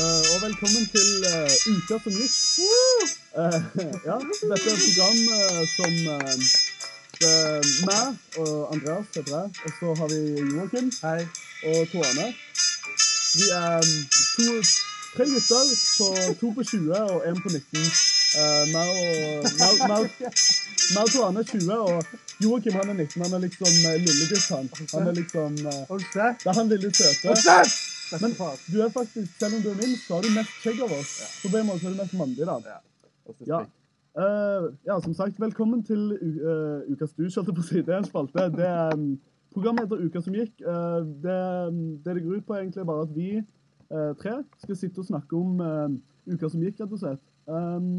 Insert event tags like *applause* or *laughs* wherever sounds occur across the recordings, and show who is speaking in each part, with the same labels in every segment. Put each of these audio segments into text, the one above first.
Speaker 1: eh, velkommen til eh, Uka som gikk. Eh, ja, dette er et program eh, som eh, det er meg og Andreas heter jeg, og så har vi Joakim Hei. og Tone. Vi er mm, to, tre gutter, på, to på 20 og én på 19. Eh, Meg og, meg, meg, meg og Tone er 20, og Joakim han er 19. Han er liksom eh, lillegutt, han. Han er liksom eh,
Speaker 2: Hold kjeft!
Speaker 1: Det er han lille søte.
Speaker 2: Men faen.
Speaker 1: Du er faktisk, selv om du er min, så har du mest skjegg av oss. Så på en måte er du mest mandig, da. Ja. Eh, ja, som sagt, velkommen til u- eh, Ukas dusj, holdt jeg på å si. Det er en spalte. Det er, um, programmet heter Uka som gikk. Eh, det, um, det det går ut på, er egentlig bare at vi eh, tre skal sitte og snakke om eh, uka som gikk, rett og slett. Um,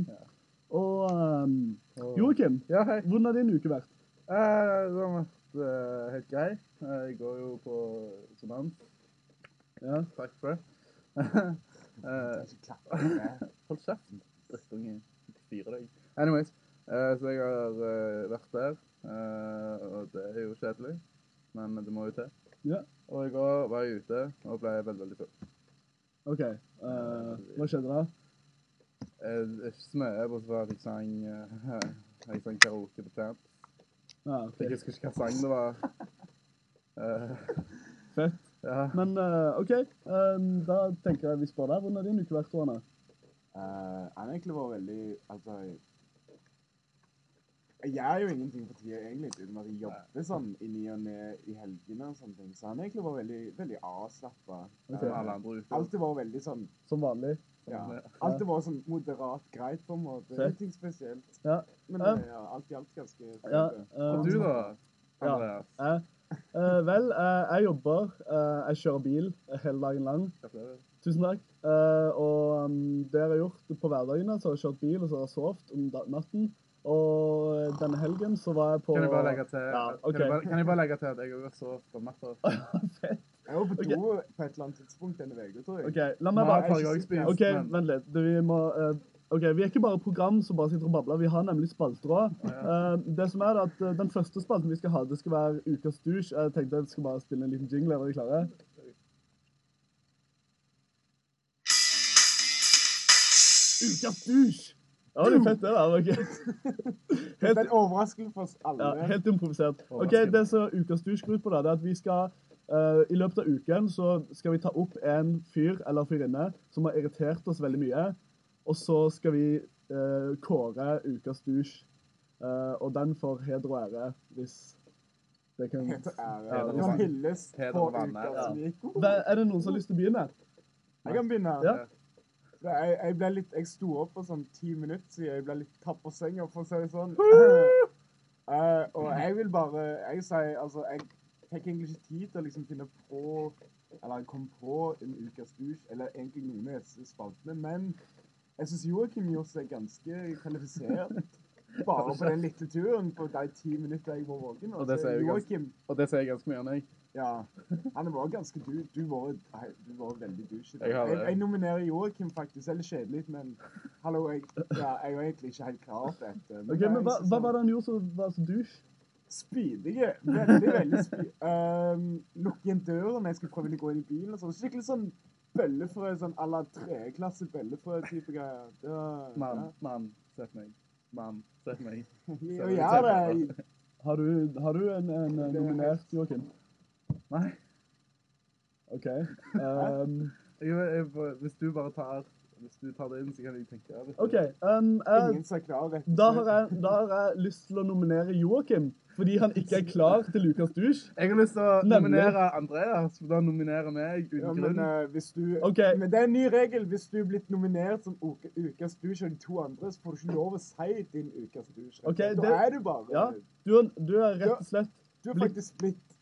Speaker 1: Og um, Joakim,
Speaker 2: Ja, hei.
Speaker 1: hvordan har din uke vært?
Speaker 2: Eh, det var mest eh, helt grei. Eh, jeg går jo på Sudan.
Speaker 1: Ja.
Speaker 2: Takk for det. *laughs* Eh, hold kjeft, drittunge. Jeg Fyrer deg. Anyways, eh, så jeg har eh, vært der, eh, og det er jo kjedelig, men det må jo til.
Speaker 1: Ja.
Speaker 2: Og i går var jeg ute og ble veldig, veldig full.
Speaker 1: OK, eh, hva skjedde da?
Speaker 2: Eh, det er Ikke så mye, bortsett fra at jeg sang, eh, *laughs* jeg sang karaoke på Plant.
Speaker 1: Ja,
Speaker 2: Jeg
Speaker 1: fett.
Speaker 2: husker ikke hva sang det
Speaker 1: *laughs*
Speaker 2: var. Eh,
Speaker 1: fett.
Speaker 2: ja.
Speaker 1: Men eh, OK, um, da tenker jeg vi spør deg. Hvordan har din uke vært, Tone?
Speaker 3: Eh, han har egentlig vært veldig Altså Jeg gjør jo ingenting for tida, egentlig, uten at jeg jobber sånn i ny og ne i helgene og sånne ting. Så han har egentlig vært veldig, veldig Eh, avslappa.
Speaker 1: Ok.
Speaker 2: Som alle andre eh, ute.
Speaker 3: Alltid vært veldig sånn
Speaker 1: Som vanlig?
Speaker 3: ja, Alltid vært sånn moderat greit, på en måte.
Speaker 1: Fett.
Speaker 3: Ingenting spesielt.
Speaker 1: Ja.
Speaker 3: Men
Speaker 1: Ja.
Speaker 3: eh, ja, alt i alt ganske
Speaker 1: Ja,
Speaker 3: fint, eh. det.
Speaker 1: um,
Speaker 2: Og du, da?
Speaker 1: Ja.
Speaker 2: Andreas.
Speaker 1: Jeg, eh, vel, eh, jeg jobber. eh, jeg kjører bil eh, hele dagen lang.
Speaker 2: Gratulerer.
Speaker 1: Tusen takk. Eh, og mm, det jeg har gjort på hverdagene, så har jeg kjørt bil og så har jeg sovet om da- natten. Og denne helgen så var jeg på
Speaker 2: Kan jeg bare legge til,
Speaker 1: Ja, ok.
Speaker 2: kan jeg bare, kan jeg bare legge til at jeg også sovet om natta?
Speaker 1: Fett.
Speaker 3: Jeg var på
Speaker 1: Ok.
Speaker 3: do på et eller annet tidspunkt denne uka, tror jeg.
Speaker 1: *laughs* OK, la meg
Speaker 2: Nå
Speaker 1: bare
Speaker 2: har jeg også spist,
Speaker 1: OK,
Speaker 2: men
Speaker 1: vent litt. Det, vi må eh, OK, vi er ikke bare program som bare sitter og babler. Vi har nemlig spalter òg. det som er, er at eh, den første spalten vi skal ha, det skal være Ukas dusj. Jeg tenkte jeg skal bare spille en liten jingle. Er dere klare? Ukas dusj! Ja, det er fett, det der. *laughs* ok.
Speaker 3: Det er en overraskelse for oss alle.
Speaker 1: Ja, helt improvisert. Eh, Ok,
Speaker 2: Overraskende.
Speaker 1: det som Ukas dusj går ut på, da, det er at vi skal eh, I løpet av uken så skal vi ta opp en fyr eller fyrinne som har irritert oss veldig mye. Og så skal vi eh, kåre Ukas dusj. Eh, og den får heder og ære, hvis det *laughs* kan
Speaker 3: Helt ære.
Speaker 1: Ja, det
Speaker 3: Nå
Speaker 2: var-
Speaker 3: hylles
Speaker 2: Heder
Speaker 3: på
Speaker 2: og vanære.
Speaker 3: uka som gikk.
Speaker 1: Hva- Er det noen som har lyst til å begynne?
Speaker 3: Jeg kan begynne.
Speaker 1: Ja.
Speaker 3: Så Jeg, jeg, ble litt, jeg sto opp for sånn ti minutter siden. Jeg ble litt tatt på senga, for å si det
Speaker 2: *laughs*
Speaker 3: sånn. Eh, og jeg vil bare Jeg sier altså Jeg fikk egentlig ikke tid til å liksom finne på Eller komme på en ukas dusj, eller egentlig noen av disse spaltene, men jeg syns Joakim gjorde seg ganske kvalifisert.
Speaker 2: *laughs*
Speaker 3: Bare på den lille turen på de ti minuttene jeg var våken.
Speaker 2: Og det
Speaker 3: Altså,
Speaker 2: sier jo ganske-
Speaker 3: Joakim
Speaker 2: Og det sier jeg ganske mye om deg.
Speaker 3: ja. Han var ganske du, du, var, nei, du var veldig douche.
Speaker 2: Jeg har det.
Speaker 3: jeg, jeg nominerer Joakim, faktisk. Eller kjedelig, men hallo, jeg, ja, jeg var egentlig ikke helt klar for dette.
Speaker 1: Ok, men Hva, hva var det han gjorde som var så douche?
Speaker 3: Spydige. Veldig, veldig spy... Um, Lukke igjen døren når jeg skulle prøve å gå inn i bilen. og sånn. Skikkelig sånn bøllefrø, sånn à la tredjeklasse bøllefrø-type greier. Det var,
Speaker 2: Mann, mann, sett meg. Mann, sett meg.
Speaker 3: ja. Jo, ja, det.
Speaker 1: Har du, har du en, en eh, nominert, Joakim?
Speaker 2: Nei.
Speaker 1: *laughs* OK. Um,
Speaker 2: Jeg, jeg, hvis du bare tar hvis du tar det inn, så kan jeg tenke over det.
Speaker 1: OK. Um, jeg,
Speaker 3: Ingen som er klar, rett og
Speaker 1: Da har, jeg, da har jeg lyst til å nominere Joakim, fordi han ikke er klar til Lukas dusj.
Speaker 2: Jeg har lyst til å
Speaker 1: Nemlig.
Speaker 2: nominere Andreas, for da nominerer meg
Speaker 3: Ja,
Speaker 2: uten
Speaker 3: men,
Speaker 2: grunn.
Speaker 3: eh, hvis du,
Speaker 1: Ok.
Speaker 3: men det er en ny regel. Hvis du er blitt nominert som uke, ukas dusj og de to andre, så får du ikke lov å si din ukas dusj.
Speaker 1: Ok,
Speaker 3: da
Speaker 1: det-
Speaker 3: er du bare
Speaker 1: Ja, du, er- du er rett og slett
Speaker 3: Du er
Speaker 1: blitt-
Speaker 3: faktisk blitt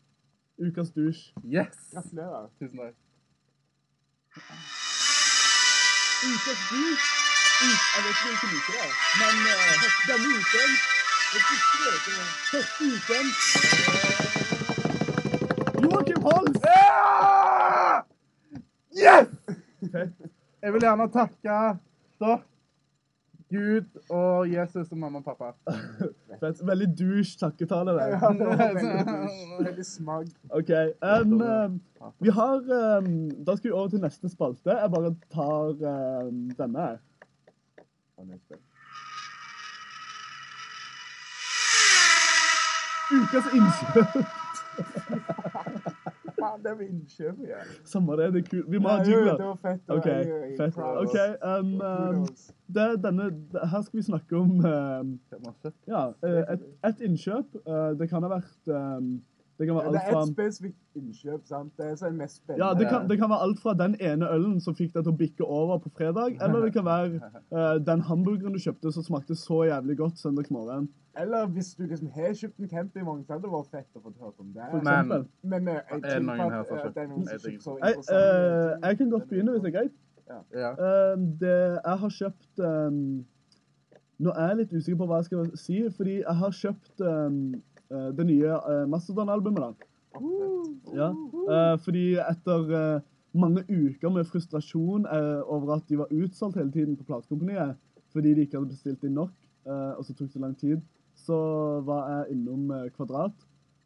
Speaker 1: Ukas dusj.
Speaker 2: Yes!
Speaker 1: *laughs*
Speaker 3: Gratulerer.
Speaker 2: Tusen takk.
Speaker 1: Ukas dusj? Ut, jeg vet ikke hvilken uke det er, men eh, denne uken
Speaker 3: Det siste vet du.
Speaker 1: Første uken Joakim Holst!
Speaker 2: Ah! Yes!
Speaker 1: Fett.
Speaker 2: Jeg vil gjerne takke dere, Gud og Jesus og mamma og pappa.
Speaker 1: Fett. Veldig douche takketale der.
Speaker 3: Ja, det var veldig, veldig smag.
Speaker 1: OK. em, em, vi har em, Da skal vi over til neste spalte. Jeg bare tar em, denne her. Ukas innkjøp.
Speaker 3: Faen, det var innkjøp igjen.
Speaker 1: Samme det, det er kult. Vi må ha
Speaker 3: Nei, jo, Det
Speaker 1: jingler.
Speaker 3: var fett. det var-
Speaker 1: OK.
Speaker 3: jeg- jeg-
Speaker 1: Fett.
Speaker 3: proud.
Speaker 1: OK. um, em, em,
Speaker 3: Kudos.
Speaker 1: det, er denne, det, her skal vi snakke om em, Ja, eh, et, et innkjøp. eh, Det kan ha vært ehm, Det kan
Speaker 3: Ja,
Speaker 1: være
Speaker 3: Det
Speaker 1: alt
Speaker 3: er
Speaker 1: fra
Speaker 3: et spesifikt innkjøp, sant? Det er så mest spennende.
Speaker 1: ja, det kan, det kan være alt fra den ene ølen som fikk deg til å bikke over på fredag, eller det kan være eh, den hamburgeren du kjøpte som smakte så jævlig godt søndag morgen.
Speaker 3: Eller hvis du liksom har kjøpt en campingvogn, så hadde det vært fett å få hørt om
Speaker 1: For
Speaker 3: det.
Speaker 2: Men-
Speaker 1: eksempel.
Speaker 3: Men eh, jeg
Speaker 2: Er det noen her
Speaker 3: tror
Speaker 2: som
Speaker 3: på
Speaker 2: har
Speaker 3: at eh, det er noen som
Speaker 2: kjøpt?
Speaker 3: kjøper så
Speaker 1: Jeg, eh,
Speaker 3: interessant.
Speaker 1: jeg kan godt begynne, hvis det er greit.
Speaker 2: Ja.
Speaker 1: Eh, det, jeg har kjøpt ehm, Nå er jeg litt usikker på hva jeg skal si, fordi jeg har kjøpt ehm, eh, det nye eh, Mastodon-albumet. da. Ja, eh, fordi etter eh, mange uker med frustrasjon eh, over at de var utsolgt hele tiden på platekompaniet, fordi de ikke hadde bestilt inn nok, eh, og så tok det lang tid, så var jeg innom eh, Kvadrat.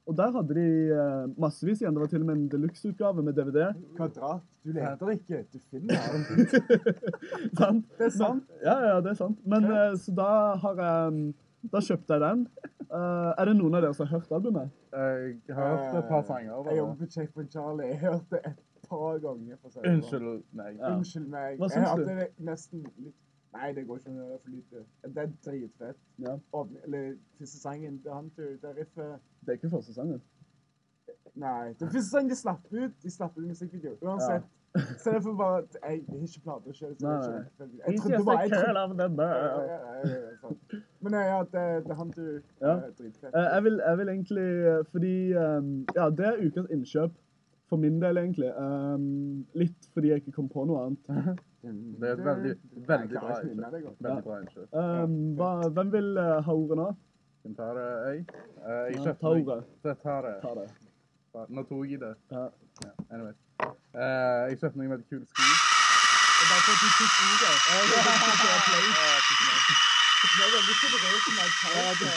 Speaker 1: Og der hadde de eh, massevis igjen. Det var til og med en deluxe-utgave med DVD.
Speaker 3: Kvadrat. Du leter ikke, du finner den.
Speaker 1: *laughs* sant?
Speaker 3: Det er sant.
Speaker 1: Ja, ja, det er sant. Men eh, så da har jeg mm, Da kjøpte jeg den. Eh, er det noen av dere som har hørt albumet?
Speaker 2: Jeg har hørt et par sanger.
Speaker 3: Jeg
Speaker 2: Bare.
Speaker 3: jobber på Checkpoint Charlie. Jeg hørte det et par ganger. for å si det sånn.
Speaker 2: Unnskyld. Nei.
Speaker 1: Ja.
Speaker 3: Unnskyld meg.
Speaker 1: Hva
Speaker 3: jeg
Speaker 1: syns du?
Speaker 3: hørte det nesten litt Nei, det går ikke an å gjøre for lite. Det er dritfett.
Speaker 1: Ja.
Speaker 3: Og, eller første sangen til han tur, det riffet
Speaker 1: Det er ikke første sangen.
Speaker 3: Nei. Den første sangen de slapp ut, de slapp ut musikkvideo. Uansett. Så derfor bare Jeg har ikke plater sjøl. Jeg,
Speaker 1: Nei,
Speaker 3: jeg,
Speaker 1: nei.
Speaker 3: jeg, jeg trodde bare jeg trodde, ja, ja, ja, ja, sant. Men nei, ja, det, det er han tur.
Speaker 1: Ja.
Speaker 3: eh, Dritfett.
Speaker 1: Eh, jeg, vil, jeg vil egentlig eh, Fordi eh, Ja, det er ukas innkjøp. For min del, egentlig. Eh, litt fordi jeg ikke kom på noe annet.
Speaker 2: Det er et veldig,
Speaker 3: Jeg
Speaker 2: veldig bra
Speaker 3: klarer ikke å
Speaker 2: innkjøp.
Speaker 3: nynne det godt.
Speaker 2: Veldig bra innkjøp.
Speaker 1: Eh, hva, hvem vil eh, ha ordet nå?
Speaker 2: Kan ta det, jeg. Eh, jeg
Speaker 1: Ja,
Speaker 2: kjøpte
Speaker 1: ta ordet.
Speaker 2: Så jeg tar det.
Speaker 1: Ta det.
Speaker 2: Nå tok jeg det.
Speaker 1: Ja.
Speaker 2: Ja, anyway. Eh, jeg kjøpte noen veldig kule sko.
Speaker 3: Det er veldig suverent som jeg tar det.
Speaker 1: Jeg bare- 13 sekunder var det.
Speaker 2: Ok.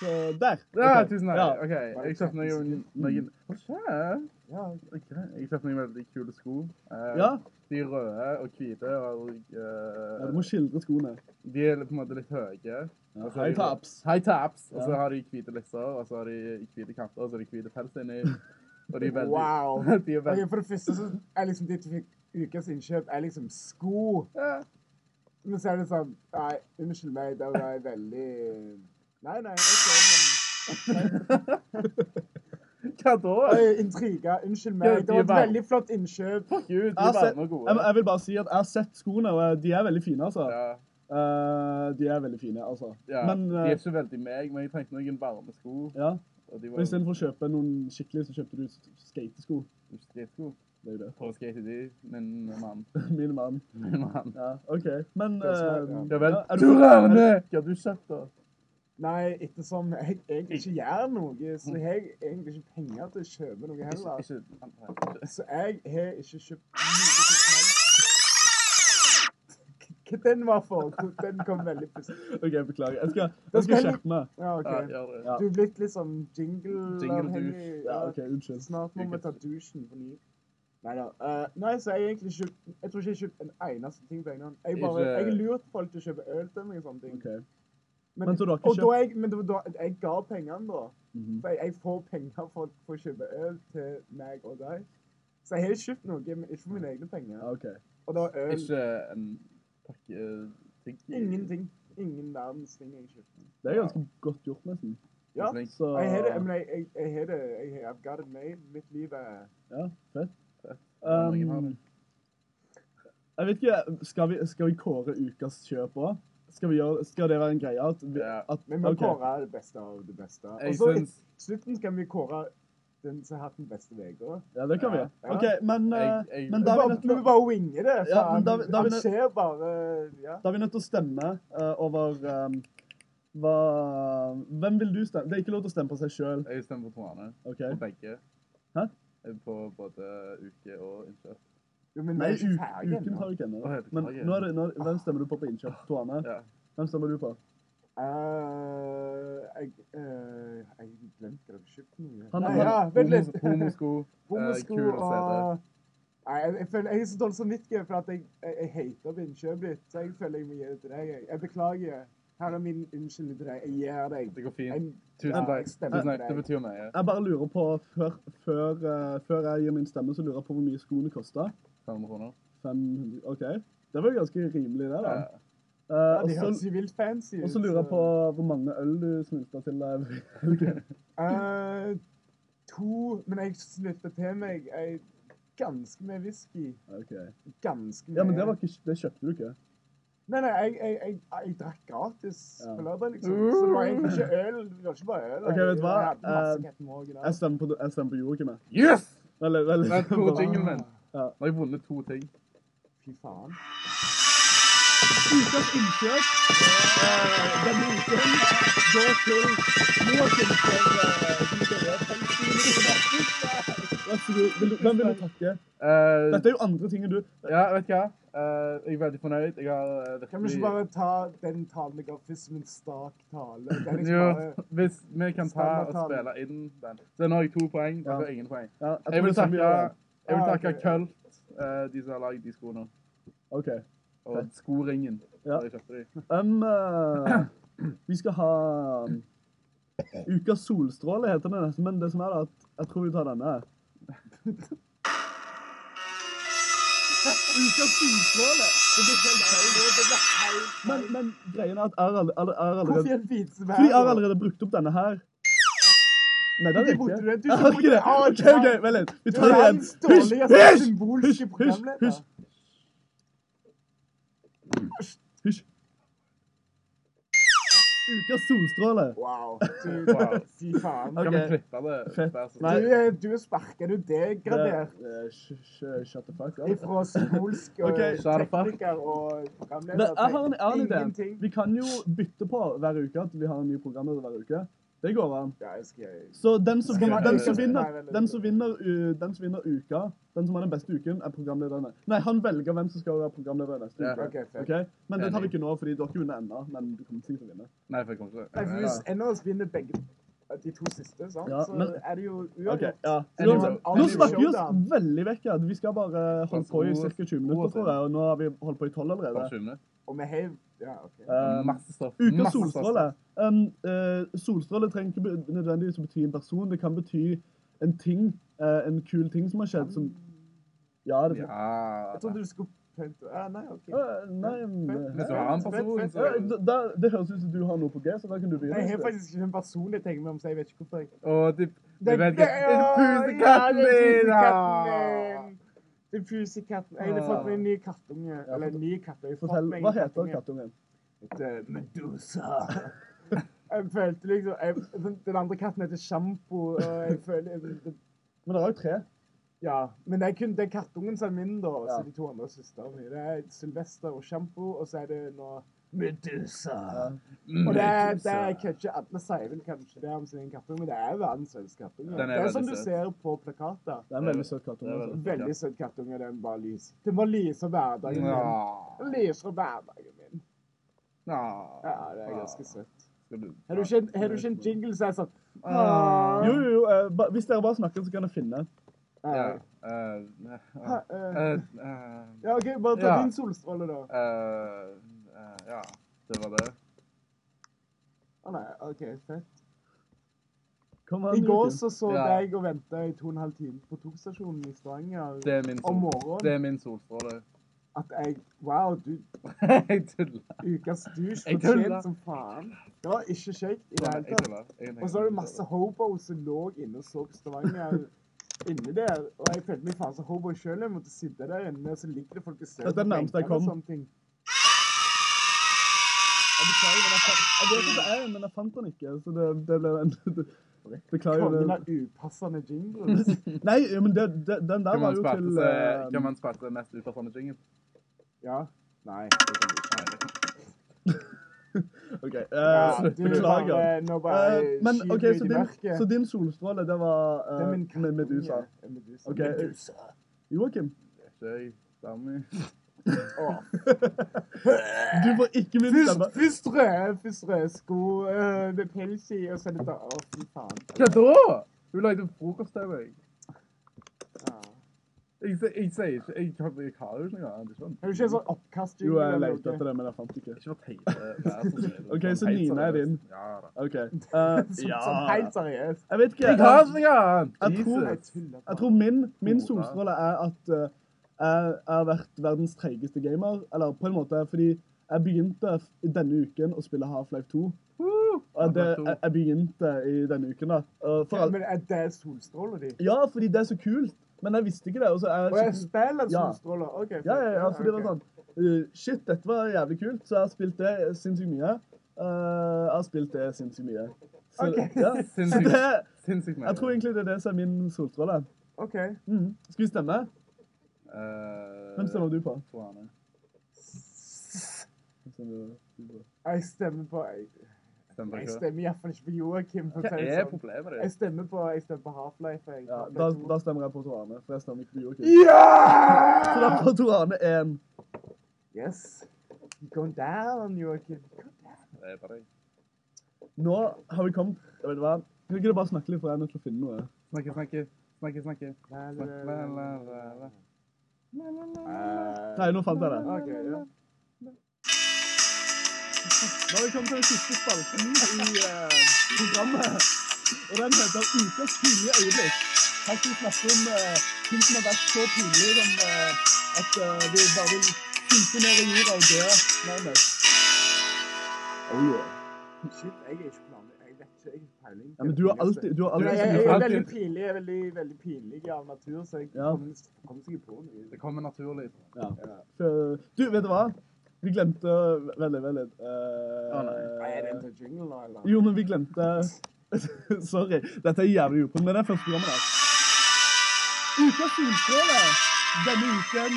Speaker 1: Så der.
Speaker 2: Ja,
Speaker 1: Ok.
Speaker 2: tusen takk.
Speaker 1: Ja.
Speaker 2: Ok, jeg kjøpte noen... noen- Hva skjer?
Speaker 3: Ja,
Speaker 2: Ok, Jeg kjøpte noen veldig kule sko. Eh,
Speaker 1: Ja,
Speaker 2: De er røde og hvite og... eh,
Speaker 1: ja, du må skildre skoene.
Speaker 2: De er på en måte litt høye.
Speaker 1: Ja,
Speaker 2: Og så er
Speaker 1: high
Speaker 2: de-
Speaker 1: tops.
Speaker 2: High tops. Og så
Speaker 1: Ja.
Speaker 2: har de hvite lisser, og så har de hvite kanter, og så har de hvite pels inni. Og de er veldig... *laughs*
Speaker 3: Wow.
Speaker 2: De er
Speaker 3: Ok,
Speaker 2: veldig...
Speaker 3: for det første så er liksom ditt ukas innkjøp er liksom sko.
Speaker 2: Ja.
Speaker 3: Men så er det sånn Nei, unnskyld meg, der var jeg veldig Nei, nei, OK,
Speaker 2: Hva da?
Speaker 3: men Oi, Intriga. Unnskyld meg. Det var et veldig flott innkjøp.
Speaker 2: Fuck you, de
Speaker 1: Jeg har
Speaker 2: er
Speaker 1: sett-
Speaker 2: varme og
Speaker 1: Jeg,
Speaker 2: gode.
Speaker 1: jeg vil bare si at jeg har sett skoene, og eh, de er veldig fine, altså.
Speaker 2: Ja.
Speaker 1: Eh, de er veldig fine, altså.
Speaker 2: Ja,
Speaker 1: Men
Speaker 2: de
Speaker 1: eh,
Speaker 2: er ikke veldig meg, men jeg trengte noen varme sko.
Speaker 1: ja.
Speaker 2: Og de
Speaker 1: Og
Speaker 2: var
Speaker 1: istedenfor å kjøpe noen skikkelige, så kjøpte du s- skatesko. *laughs*
Speaker 2: skatesko.
Speaker 1: Det er jo det.
Speaker 2: På skate de, min mann. *laughs*
Speaker 1: Min mann.
Speaker 2: Min mann.
Speaker 1: Ja, OK. Men
Speaker 3: Det er smart, ja.
Speaker 1: eh,
Speaker 2: Ja vel.
Speaker 1: ja, er
Speaker 2: Du
Speaker 1: du,
Speaker 2: rørende! Hva har du kjøpt, da?
Speaker 3: Nei, ettersom jeg egentlig ikke gjør noe, så har jeg egentlig ikke penger til å kjøpe noe
Speaker 2: Ikke,
Speaker 3: heller.
Speaker 2: ikke
Speaker 3: Så Altså, jeg har ikke kjøpt noe som helst. Hva den var for? Den kom veldig plutselig.
Speaker 1: OK, beklager. Jeg skal,
Speaker 3: Da
Speaker 1: jeg
Speaker 3: skal
Speaker 1: skal
Speaker 3: jeg-
Speaker 1: skjerpe meg.
Speaker 3: Ja,
Speaker 2: ja,
Speaker 3: OK.
Speaker 2: gjør det.
Speaker 1: Ja.
Speaker 3: Du er blitt litt sånn jingle-avhengig.
Speaker 2: Jingle-douche.
Speaker 1: Ja, OK, unnskyld.
Speaker 3: Snart må vi ta dusjen på ny. Neida. eh, nei, så jeg har egentlig kjøpt Jeg tror ikke jeg har kjøpt en eneste ting på egen hånd. Jeg bare,
Speaker 2: Ikke-
Speaker 3: jeg har lurt folk til å kjøpe øl til meg og sånne ting.
Speaker 1: OK. Men så du har ikke
Speaker 3: og da jeg, men det var da jeg ga pengene, da.
Speaker 1: Mhm.
Speaker 3: For jeg, jeg får penger for, for å kjøpe øl til meg og deg. Så jeg har kjøpt noe, men ikke for mine egne penger.
Speaker 1: Ja, OK.
Speaker 3: Og det var øl.
Speaker 2: Ikke en pakke ting.
Speaker 3: Ingenting. Ingen verdens ting jeg kjøpte.
Speaker 1: Det er ganske godt gjort, nesten.
Speaker 3: Ja.
Speaker 2: Flink.
Speaker 1: Så
Speaker 3: Jeg har det. Jeg, mener, jeg, jeg, jeg har det. Jeg, har- I've got it made. Mitt liv er
Speaker 1: Ja, fett.
Speaker 2: Ja, ingen har
Speaker 1: Um,
Speaker 2: det.
Speaker 1: jeg vet ikke Skal vi, skal vi kåre ukas kjøp òg? Skal, vi gjøre- skal det være en greie at, vi,
Speaker 2: Ja.
Speaker 1: at
Speaker 3: Men vi må
Speaker 1: ok.
Speaker 3: kåre det beste av det beste. Og
Speaker 2: Jeg
Speaker 3: så i
Speaker 2: syns
Speaker 3: slutten skal vi kåre den som har hatt den beste uka.
Speaker 1: Ja, det kan vi.
Speaker 2: Ja.
Speaker 1: OK, men,
Speaker 2: Jeg-
Speaker 1: eh,
Speaker 2: jeg-
Speaker 1: men
Speaker 3: Vi
Speaker 1: da er vi
Speaker 3: bare,
Speaker 1: nødt til
Speaker 3: vi
Speaker 1: å-
Speaker 3: bare winger det.
Speaker 1: Ja,
Speaker 3: faen.
Speaker 1: men da- da-
Speaker 3: Han skjer bare Ja.
Speaker 1: Da er vi nødt til å stemme eh, over ehm, hva Hvem vil du stemme? Det er ikke lov til å stemme på seg sjøl.
Speaker 2: jeg stemmer på Trane.
Speaker 1: OK?
Speaker 2: På begge.
Speaker 1: Hæ?
Speaker 2: eh, på både uke og innkjøp.
Speaker 3: Jo, men
Speaker 1: Nei,
Speaker 3: vi er ikke
Speaker 1: u-
Speaker 3: ferdige
Speaker 1: uken
Speaker 3: ennå.
Speaker 1: tar ikke ennå.
Speaker 2: Å, jeg beklager.
Speaker 1: Men nå er det, nå, hvem stemmer du på på innkjøp? Toane?
Speaker 2: Ja.
Speaker 1: Hvem stemmer du på?
Speaker 3: Eh, jeg, eh, jeg glemte det. Shit, noe.
Speaker 1: Han-
Speaker 3: Nei,
Speaker 1: han-
Speaker 3: ja, vent litt.
Speaker 2: Homosko.
Speaker 3: Bommesko
Speaker 2: Eh, kul å se
Speaker 3: og Nei, jeg, jeg, føler, jeg er så dårlig samvittighet for at jeg, jeg, jeg hater på innkjøpet ditt. Så jeg føler jeg må gi det til deg. Jeg, jeg beklager. Her er min unnskyldning til deg. Jeg gir deg.
Speaker 2: Det går fint.
Speaker 3: Jeg-
Speaker 2: Tusen
Speaker 3: Ja,
Speaker 2: takk.
Speaker 3: jeg stemmer
Speaker 2: Tusen
Speaker 3: på
Speaker 2: takk. Det
Speaker 3: deg.
Speaker 2: betyr mye.
Speaker 1: Jeg bare lurer på, før, før, eh, før jeg gir min stemme, så lurer jeg på hvor mye skoene kosta.
Speaker 2: 500 kroner.
Speaker 1: 500 OK. Det var jo ganske rimelig, det, da.
Speaker 2: Ja.
Speaker 1: Eh,
Speaker 3: Ja,
Speaker 1: og
Speaker 3: de
Speaker 1: så-
Speaker 3: høres jo vilt fancy ut.
Speaker 1: og så lurer jeg
Speaker 3: så-
Speaker 1: på hvor mange øl du smulta til deg.
Speaker 3: Eh, to Men jeg slutta til meg ei ganske med whisky.
Speaker 1: *laughs* Ok.
Speaker 3: Ganske med
Speaker 1: Ja, men det, var ikke, det kjøpte du ikke.
Speaker 3: Nei, nei, jeg, jeg, jeg, jeg drakk gratis
Speaker 1: Ja.
Speaker 3: på lørdag, liksom. Så det var egentlig ikke øl. Det var ikke bare øl.
Speaker 1: Ok,
Speaker 3: Jeg-
Speaker 1: vet du hva?
Speaker 3: Jeg hadde masse
Speaker 1: Eh,
Speaker 3: Captain Morgan
Speaker 1: Jeg
Speaker 3: også.
Speaker 1: stemmer på, jeg stemmer på Joakim. jeg.
Speaker 2: Yes!
Speaker 1: Eller, eller,
Speaker 2: Vent,
Speaker 1: *laughs*
Speaker 2: hvor er
Speaker 1: bare-
Speaker 2: jinglen min?
Speaker 1: Ja.
Speaker 2: Nå har jeg vunnet to ting.
Speaker 3: Fy faen.
Speaker 1: Ukas innkjøp eh, denne uken går til Joakim for eh, de døde 50 minutter. Vær så god. Vil du- Hvem vil du takke?
Speaker 2: Eh,
Speaker 1: Dette er jo andre ting du
Speaker 2: ja, vet du hva? Eh, jeg er veldig fornøyd. Jeg har eh, virkelig...
Speaker 3: Kan vi ikke bare ta den talen jeg har først som en stak tale? Den jeg
Speaker 2: Jo,
Speaker 3: bare...
Speaker 2: hvis vi kan ta og
Speaker 3: Standardtall.
Speaker 2: spille inn den. Så nå har jeg to poeng.
Speaker 1: Ja.
Speaker 2: Ja. ingen poeng.
Speaker 1: Ja, jeg tror
Speaker 2: Jeg vil
Speaker 1: det er sånn vi
Speaker 2: takke,
Speaker 1: gjør det.
Speaker 2: jeg vil
Speaker 3: Ah,
Speaker 2: takke
Speaker 3: ok.
Speaker 2: Kult, eh, de som har lagd de skoene.
Speaker 1: OK.
Speaker 2: Og skoringen.
Speaker 1: Ja.
Speaker 2: da Jeg kjøpte de.
Speaker 1: Um, eh, vi skal ha um, Ukas solstråle heter den nesten, men det som er, da, at jeg tror vi tar denne. Ukas solstråle! Det blir helt feil. Men, men greien er at jeg har all- all- jeg har
Speaker 3: Hvorfor
Speaker 1: allerede
Speaker 3: gjør vi det
Speaker 1: Fordi jeg har allerede brukt opp denne her. Nei, den
Speaker 3: Du
Speaker 1: er
Speaker 3: brukte
Speaker 1: ikke.
Speaker 3: den. Du
Speaker 1: Jeg har ikke det.
Speaker 3: brukte- Ah,
Speaker 1: OK, OK, vent litt. Vi
Speaker 3: Du
Speaker 1: tar
Speaker 3: er
Speaker 1: det igjen.
Speaker 3: verdens
Speaker 1: Hysj!
Speaker 3: dårligste
Speaker 1: Hysj!
Speaker 3: symbolske
Speaker 1: Hysj!
Speaker 3: programleder.
Speaker 1: Hysj! Hysj! Hysj! Ukas solstråle.
Speaker 3: Wow. Du,
Speaker 2: Wow.
Speaker 3: fy faen.
Speaker 1: Ok.
Speaker 2: Kan vi klippe det?
Speaker 1: Fett.
Speaker 2: Vær så
Speaker 3: Du,
Speaker 1: Nei.
Speaker 2: snill?
Speaker 3: er- du er sparket, du er degradert
Speaker 1: Det- det- Eh, sh- sh- Shut the fuck up.
Speaker 3: ifra symbolsk og
Speaker 1: Ok,
Speaker 2: så er det fuck.
Speaker 3: tekniker og programleder.
Speaker 1: Men jeg har en, jeg har en idé.
Speaker 3: Ingenting.
Speaker 1: Vi kan jo bytte på hver uke at vi har en ny programleder hver uke. Det går an.
Speaker 3: Ja, jeg skal...
Speaker 1: Så den som,
Speaker 2: Skal vi-
Speaker 1: den som
Speaker 2: Nei,
Speaker 1: vinner,
Speaker 3: nei, nei.
Speaker 1: den som vinner, u- den som vinner uka, den som har den beste uken, er programlederne. Nei, han velger hvem som skal være programleder neste
Speaker 2: Ja.
Speaker 1: uke.
Speaker 3: Ok, fett.
Speaker 1: Ok? Men det tar vi ikke nå, fordi dere vinner ennå. Men du kommer sikkert til å vinne.
Speaker 2: Nei, for jeg kommer
Speaker 3: Nei, for hvis
Speaker 2: ikke
Speaker 3: en av oss vinner begge de to siste, sant?
Speaker 1: Ja,
Speaker 3: så
Speaker 1: men-
Speaker 3: er det jo
Speaker 1: Ok,
Speaker 3: uavgjort.
Speaker 1: ja.
Speaker 2: Anyway,
Speaker 1: Uansett, Nå
Speaker 2: anyway.
Speaker 1: snakker vi oss veldig vekk. her. Vi skal bare holde på i
Speaker 2: Ro
Speaker 1: ca.
Speaker 2: oss-
Speaker 1: 20
Speaker 2: ro
Speaker 1: minutter,
Speaker 2: oss
Speaker 1: tror jeg. Og nå har vi holdt på i 12 allerede.
Speaker 2: det.
Speaker 3: Og vi heiv Ja, OK.
Speaker 1: Eh,
Speaker 2: Masse stoff.
Speaker 1: Ukas
Speaker 2: Masse stoff.
Speaker 1: solstråle. Um, eh, solstråle trenger ikke be- nødvendigvis å bety en person. Det kan bety en ting, eh, en kul ting som har skjedd som Ja, det
Speaker 2: Ja.
Speaker 3: Jeg trodde du skulle pønte ah, Nei, OK.
Speaker 1: Eh, Nei men-
Speaker 2: Hvis du har en person,
Speaker 3: Fett, fett,
Speaker 2: så
Speaker 1: Eh, da- da- Det høres ut som du har noe på G, så da kan du
Speaker 3: Jeg har
Speaker 1: begynne.
Speaker 3: faktisk ikke en person jeg tenker meg om, så jeg vet ikke hvorfor. jeg...
Speaker 2: Og de, de
Speaker 3: Det-
Speaker 2: vet
Speaker 3: det-
Speaker 2: ikke Det er
Speaker 3: ja,
Speaker 2: pusekatten
Speaker 3: det er
Speaker 2: min!
Speaker 3: pusekatten
Speaker 2: ja!
Speaker 3: min! Det er pusekatten. Jeg har fått meg en ny kattunge. Eller en ny katt. Jeg har fått
Speaker 1: Fortell,
Speaker 3: meg en
Speaker 1: Hva heter
Speaker 3: kattunge.
Speaker 1: kattungen?
Speaker 3: heter Medusa. Jeg følte liksom jeg, den- Den andre katten heter Sjampo, og jeg føler jeg-
Speaker 1: Men det er jo tre.
Speaker 3: Ja. Men det er kun det er kattungen som er min, da. og Så
Speaker 1: Ja.
Speaker 3: de to andre søstrene mine. Det er Sylvester og Sjampo, og så er det nå Medusa.
Speaker 2: Ah,
Speaker 3: Og det er, det er kanskje alle sier vel kanskje det om sin kattunge, men det er verdens søteste kattunge.
Speaker 2: Den er
Speaker 3: Det er
Speaker 2: veldig
Speaker 3: som du
Speaker 2: søt.
Speaker 3: ser på plakater.
Speaker 1: Det er en veldig søt kattunge.
Speaker 2: Det er
Speaker 1: altså.
Speaker 2: veldig-
Speaker 3: Veldig søt kattunge. Den bare lyser. Den bare lyser hverdagen min. Den
Speaker 2: Mm. Ja.
Speaker 3: lyser hverdagen min. Ja, det er ganske søtt.
Speaker 2: Skal du-
Speaker 3: Har du ikke en, har du ikke en jingle som er sånn
Speaker 2: Ah.
Speaker 1: Jo, jo, jo. eh, ba- Hvis dere bare snakker, så kan jeg finne.
Speaker 2: Ja.
Speaker 3: Ja.
Speaker 2: eh,
Speaker 3: Ha, eh,
Speaker 2: eh, eh, eh,
Speaker 3: ja, OK, bare ta
Speaker 2: Ja.
Speaker 3: din solstråle, da. Å
Speaker 2: Eh, eh, ja, det var det.
Speaker 3: nei, OK, fett.
Speaker 1: Kom an,
Speaker 3: I går
Speaker 1: Joakim.
Speaker 3: så så
Speaker 2: Ja.
Speaker 3: jeg og venta i to og en halv time på togstasjonen i Stavanger
Speaker 2: Det er min, sol,
Speaker 3: om
Speaker 2: det
Speaker 3: morgenen
Speaker 2: er min solstråle. *laughs*
Speaker 3: at jeg Wow, du
Speaker 2: jeg tuller.
Speaker 3: ukas douche
Speaker 2: Jeg
Speaker 3: fortjent
Speaker 2: tuller.
Speaker 3: som faen. Det var ikke kjekt i det
Speaker 2: Nei,
Speaker 3: hele
Speaker 2: jeg
Speaker 3: tatt.
Speaker 2: tuller. Jeg tenker-
Speaker 3: Og så var det masse hobos som lå inne og så på Stavanger *laughs* inne der. Og jeg følte meg faen som hobo sjøl. Jeg måtte sitte der inne, og så ligger det folk og ser
Speaker 1: Dette er det nærmeste jeg
Speaker 3: benkene og
Speaker 1: kom.
Speaker 3: sånne ting.
Speaker 1: Jeg beklager, men jeg fant- jeg vet at det er en, men jeg fant den ikke. Så det, det ble en Beklager.
Speaker 3: Kongen
Speaker 1: Det.
Speaker 3: av upassende
Speaker 1: *laughs*
Speaker 3: jingles.
Speaker 1: Nei, ja, men det, det, den der
Speaker 2: Kan
Speaker 1: var
Speaker 2: man
Speaker 1: jo
Speaker 2: spalte
Speaker 1: til
Speaker 2: seg-
Speaker 1: eh,
Speaker 2: Kan man spalte mest upassende jingle?
Speaker 3: Ja. Nei. det kan du ikke.
Speaker 1: OK. eh,
Speaker 3: Ja, du,
Speaker 1: beklager.
Speaker 3: Bare, nå bare
Speaker 1: Eh, men
Speaker 3: skyver
Speaker 1: OK,
Speaker 3: jeg
Speaker 1: så
Speaker 3: i
Speaker 1: din,
Speaker 3: mørket.
Speaker 1: så din solstråle, det var eh,
Speaker 3: Det er min
Speaker 1: med
Speaker 3: kattunge.
Speaker 1: Medusa.
Speaker 3: En Medusa.
Speaker 1: Ok.
Speaker 3: Medusa.
Speaker 1: Joakim,
Speaker 2: Skjøy, Sammy.
Speaker 1: *laughs*
Speaker 3: Åh.
Speaker 1: du får ikke min
Speaker 3: Først,
Speaker 1: stemme.
Speaker 3: først røde, først røde sko eh, med pels i, og så er det da Å, fy faen.
Speaker 2: Hva da? Hun lagde frokost til meg.
Speaker 3: Ja.
Speaker 2: Jeg sier jeg sier ikke Jeg kan jeg har jo ikke noe annet. ikke sant?
Speaker 3: Er du ikke en sånn oppkast?
Speaker 1: Jo, jeg lette etter det, men jeg fant ikke.
Speaker 2: Ikke vær teite. vær så snill.
Speaker 1: Ok, så
Speaker 2: Helt
Speaker 1: Nina er
Speaker 2: seriøst.
Speaker 1: din.
Speaker 2: Ja da.
Speaker 3: *laughs*
Speaker 1: OK. eh, ja
Speaker 3: Sånn helt seriøst.
Speaker 1: Jeg vet ikke.
Speaker 2: Jeg har ikke noe
Speaker 1: Jeg
Speaker 2: annet!
Speaker 1: tror-
Speaker 3: Jeg
Speaker 2: Jesus.
Speaker 3: tuller
Speaker 1: Jeg
Speaker 3: bare.
Speaker 1: tror min, min solstråle er at eh, jeg jeg har vært verdens treigeste gamer. Eller på en måte fordi jeg begynte f- i denne uken å spille Half-Life 2. Og det, jeg, jeg begynte i denne uken, da. Og for all,
Speaker 3: Men er det solstråler, de?
Speaker 1: ja, fordi det er så kult. Men jeg visste ikke det. Og så er
Speaker 3: Og jeg
Speaker 1: jeg skikkelig-
Speaker 3: spiller
Speaker 1: Ja.
Speaker 3: solstråler? OK.
Speaker 1: ja, ja, ja, fordi det var
Speaker 3: ok.
Speaker 1: sånn eh, Shit, dette var jævlig kult, så jeg har spilt det sinnssykt mye. Eh, jeg har spilt det sinnssykt mye. Så,
Speaker 3: Ok.
Speaker 1: ja. *laughs* så
Speaker 2: Sinnssykt.
Speaker 1: det,
Speaker 2: Sinnssykt
Speaker 1: jeg tror egentlig det er det som er min solstråle.
Speaker 3: OK.
Speaker 1: Mhm. Skal vi stemme?
Speaker 2: Eh,
Speaker 1: Hvem stemmer du på?
Speaker 2: Suane.
Speaker 1: Hvem stemmer du på?
Speaker 3: Jeg stemmer på Jeg,
Speaker 2: Stemmer
Speaker 3: jeg
Speaker 2: ikke.
Speaker 3: stemmer iallfall ikke på Joakim. for å
Speaker 2: Hva
Speaker 3: si det
Speaker 2: er
Speaker 3: sånn.
Speaker 2: problemet
Speaker 3: Jeg
Speaker 2: ditt?
Speaker 3: stemmer på, jeg stemmer på Half-Life. jeg.
Speaker 1: Ja,
Speaker 3: Half-Life
Speaker 1: da,
Speaker 3: 2.
Speaker 1: da stemmer jeg på Tor Arne, for jeg stemmer ikke på Joakim. Så da
Speaker 3: Ja!
Speaker 1: får Tor Arne én.
Speaker 3: Yes. Go down, Joakim.
Speaker 2: Det er bare deg.
Speaker 1: Nå har vi kommet Vet du hva? Kan ikke du bare snakke litt, for jeg er nødt til å finne noe.
Speaker 2: Snakke, snakke, snakke, snakke. la, la, la, la.
Speaker 1: Nei, nå fant jeg det.
Speaker 3: Ok, ja.
Speaker 1: Da har vi kommet til den siste spalten i eh, programmet. Og den heter Ukas pinlige øyeblikk. Her skal vi snakke om eh, ting som har vært så pinlige som eh, at eh, vi bare vil synke ned i jorda og dø nærmest. Oh, yeah.
Speaker 3: Shit, jeg er ikke planlagt. Jeg vet ikke. Jeg har ikke peiling.
Speaker 1: Ja, men du har alltid, du har
Speaker 3: Jeg,
Speaker 1: alltid så
Speaker 3: jeg, jeg
Speaker 1: mye
Speaker 3: er
Speaker 1: fram.
Speaker 3: veldig pinlig, jeg er veldig, veldig pinlig av natur, så jeg
Speaker 1: Ja.
Speaker 3: kommer kommer sikkert på noe.
Speaker 2: Det kommer naturlig.
Speaker 1: Eh, Du, vet du hva? Vi glemte Veldig, veldig eh,
Speaker 2: Å, nei.
Speaker 3: Nei, Er det en til jingle nå, eller?
Speaker 1: Jo, men vi glemte *laughs* Sorry. Dette er jævlig upen, men det er første programmet der. Ukas solstråle denne uken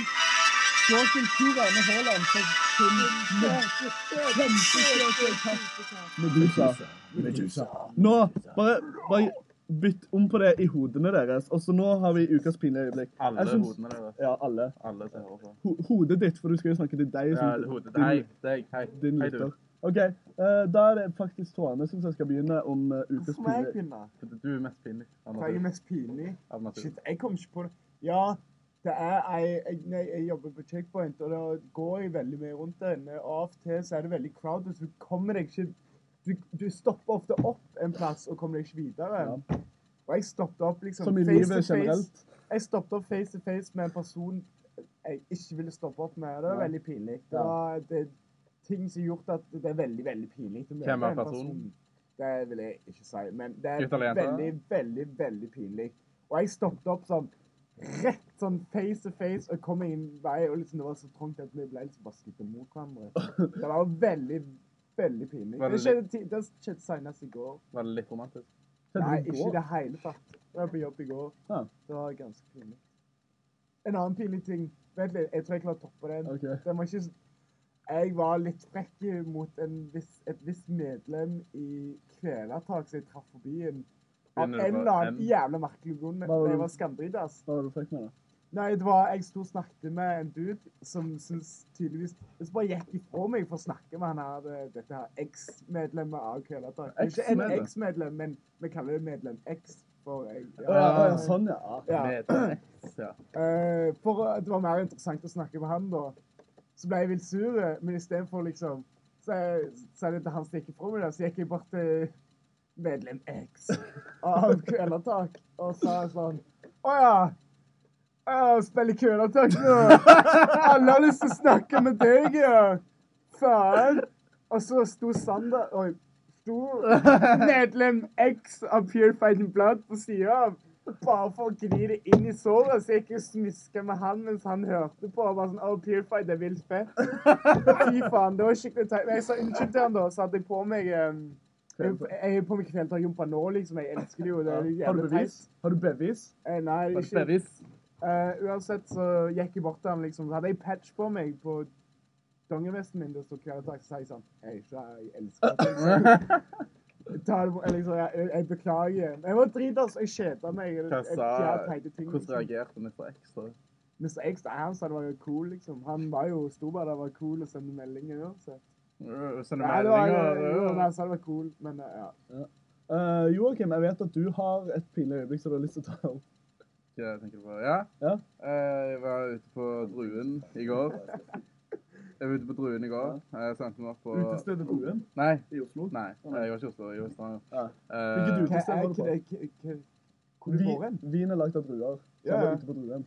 Speaker 1: går til Tor Arne Haaland for sin kjempestørste kast Medusa. Medusa. Nå, bare, bare bytt om på det i hodene deres. Og så nå har vi ukas pinlige øyeblikk.
Speaker 2: Alle
Speaker 1: Jeg syns-
Speaker 2: hodene deres.
Speaker 1: Ja, alle.
Speaker 2: Alle som hører på.
Speaker 1: Ho hodet ditt, for du skal jo snakke til deg.
Speaker 2: Ja,
Speaker 1: som-
Speaker 2: hodet.
Speaker 1: din-
Speaker 2: Hei, deg. Hei.
Speaker 1: din
Speaker 2: Hei,
Speaker 1: lytter. OK, eh, da er det faktisk Tårne som skal begynne om eh, ukas
Speaker 3: Hvorfor må jeg
Speaker 1: pinlige
Speaker 3: begynne?
Speaker 2: Du Du er mest pinlig av
Speaker 3: For jeg er
Speaker 2: natur.
Speaker 3: mest pinlig.
Speaker 2: Av natur.
Speaker 3: Shit, jeg kom ikke på det. Ja, det er jeg, jeg, nei, jeg jobber på checkpoint, og da går jeg veldig mye rundt der inne. Og av og til så er det veldig crowded, så du kommer deg ikke Du, du stopper ofte opp en plass og kommer deg ikke videre. Og jeg stoppet opp liksom
Speaker 1: Som i
Speaker 3: face
Speaker 1: livet
Speaker 3: to face.
Speaker 1: generelt.
Speaker 3: Jeg stoppet opp face to face med en person jeg ikke ville stoppe opp med. og Det var
Speaker 1: Ja.
Speaker 3: veldig pinlig. Det
Speaker 1: Ja.
Speaker 3: var det, er ting som har gjort at det er veldig, veldig pinlig. å møte
Speaker 2: Hvem er
Speaker 3: en person.
Speaker 2: personen?
Speaker 3: Det vil jeg ikke si, men det er
Speaker 2: Gutt eller jente?
Speaker 3: veldig, veldig, veldig pinlig. Og jeg stoppet opp sånn rett sånn face to face og kom inn vei, og liksom det var så trangt at vi ble liksom bare skutt mot hverandre. Det var veldig, veldig pinlig.
Speaker 2: Var
Speaker 3: Det
Speaker 2: det
Speaker 3: skjedde, ti- det skjedde senest i går.
Speaker 2: Var det litt romantisk?
Speaker 3: Nei,
Speaker 1: Skjedde det i
Speaker 3: ikke
Speaker 1: går?
Speaker 3: i det hele tatt. Jeg var på jobb i går.
Speaker 1: Ja.
Speaker 3: Det var ganske pinlig. En annen pinlig ting Vent litt, jeg tror jeg klarer å toppe den.
Speaker 1: Ok.
Speaker 3: Den var ikke s- Jeg var litt frekk mot en viss, et visst medlem i Kvelertak som jeg traff på byen. Av en
Speaker 2: Begynner du på
Speaker 3: eller annen
Speaker 2: M?
Speaker 3: jævla merkelig grunn.
Speaker 1: Hva var
Speaker 3: Jeg
Speaker 1: det?
Speaker 3: var skamdritas.
Speaker 1: Hva var det du fikk med det?
Speaker 3: Nei, det var, jeg sto og snakket med en dude som syntes tydeligvis Som bare gikk ifra meg for å snakke med han her, eh, dette her eks-medlemmet av Kølatak. Ikke en
Speaker 2: Eks-medlem?
Speaker 3: eks-medlem, men vi kaller det medlem X. For, jeg, ja.
Speaker 1: Å ja, å ja, sånn, ja.
Speaker 3: Ja.
Speaker 2: Med
Speaker 3: *clears throat*
Speaker 2: et- ja.
Speaker 3: Eh, for eh, det var mer interessant å snakke med han da. Så ble jeg litt sur, eh, men istedenfor liksom Så sa jeg til han som gikk ifra meg, da, så gikk jeg bort til medlem X av Kølatak og sa sånn Å ja. Jeg spiller
Speaker 1: *laughs*
Speaker 3: køletak nå. Alle har lyst til å snakke med deg, ja. Faen. Og så sto Sander Oi. Sto medlem X av Purified in Blood på sida av. Bare for å gni det inn i såret, så jeg ikke smiska med han mens han hørte på. Og bare sånn, oh, Purified er vilt fett. Fy faen, det var skikkelig teit. Men jeg sa unnskyld til han, da, så hadde jeg på meg um, jeg, jeg har på meg kvelertakjompa nå, liksom. Jeg elsker det jo. Det er jo
Speaker 1: Har du
Speaker 3: jævlig
Speaker 1: bevis?
Speaker 3: teit.
Speaker 1: Har du bevis?
Speaker 3: Eh, Nei,
Speaker 2: Var det
Speaker 3: ikke *laughs*
Speaker 2: Ferris?
Speaker 3: Eh, uansett så gikk jeg bort til han liksom, så hadde jeg patch på meg på dongevesten min, det står hver dag, så sier jeg sånn Jeg er ikke jeg elsker deg. Ta det på, eller liksom, jeg, jeg, jeg beklager. Jeg var dritas, jeg kjeda meg. Jeg,
Speaker 2: Hva
Speaker 3: jeg,
Speaker 2: sa-
Speaker 3: gjør teite ting,
Speaker 2: Hvordan
Speaker 3: liksom.
Speaker 2: reagerte Mr. X? da?
Speaker 3: Mr. X, nei, han sa det var jo cool, liksom. Han var jo sto bare der og var cool og sendte meldinger uansett.
Speaker 2: Øh, Sender
Speaker 3: Nei, det var- jo, men
Speaker 2: meldinger
Speaker 3: Han sa det var cool, men eh, ja.
Speaker 1: Eh, Joakim, jeg vet at du har et pinlig øyeblikk som du har lyst til å ta opp.
Speaker 2: Hva tenker du på? Ja.
Speaker 1: Ja.
Speaker 2: Eh, Jeg var ute på Druen i går. Jeg var ute på Druen i går. Jeg sendte meg opp på
Speaker 1: Utestedet Bruen
Speaker 2: Nei.
Speaker 1: i Oslo.
Speaker 2: Nei, jeg var ikke i Oslo. Jeg var i Stavanger.
Speaker 1: Ja.
Speaker 2: Eh,
Speaker 1: Hvilket
Speaker 3: Hva
Speaker 1: utested
Speaker 3: er
Speaker 1: var du
Speaker 3: hva-
Speaker 1: på?
Speaker 3: hva- hva- Hvor du går hen?
Speaker 1: Vi, vin er lagd av druer. Så
Speaker 3: Ja,
Speaker 1: jeg
Speaker 3: ja.
Speaker 1: var ute på Druen.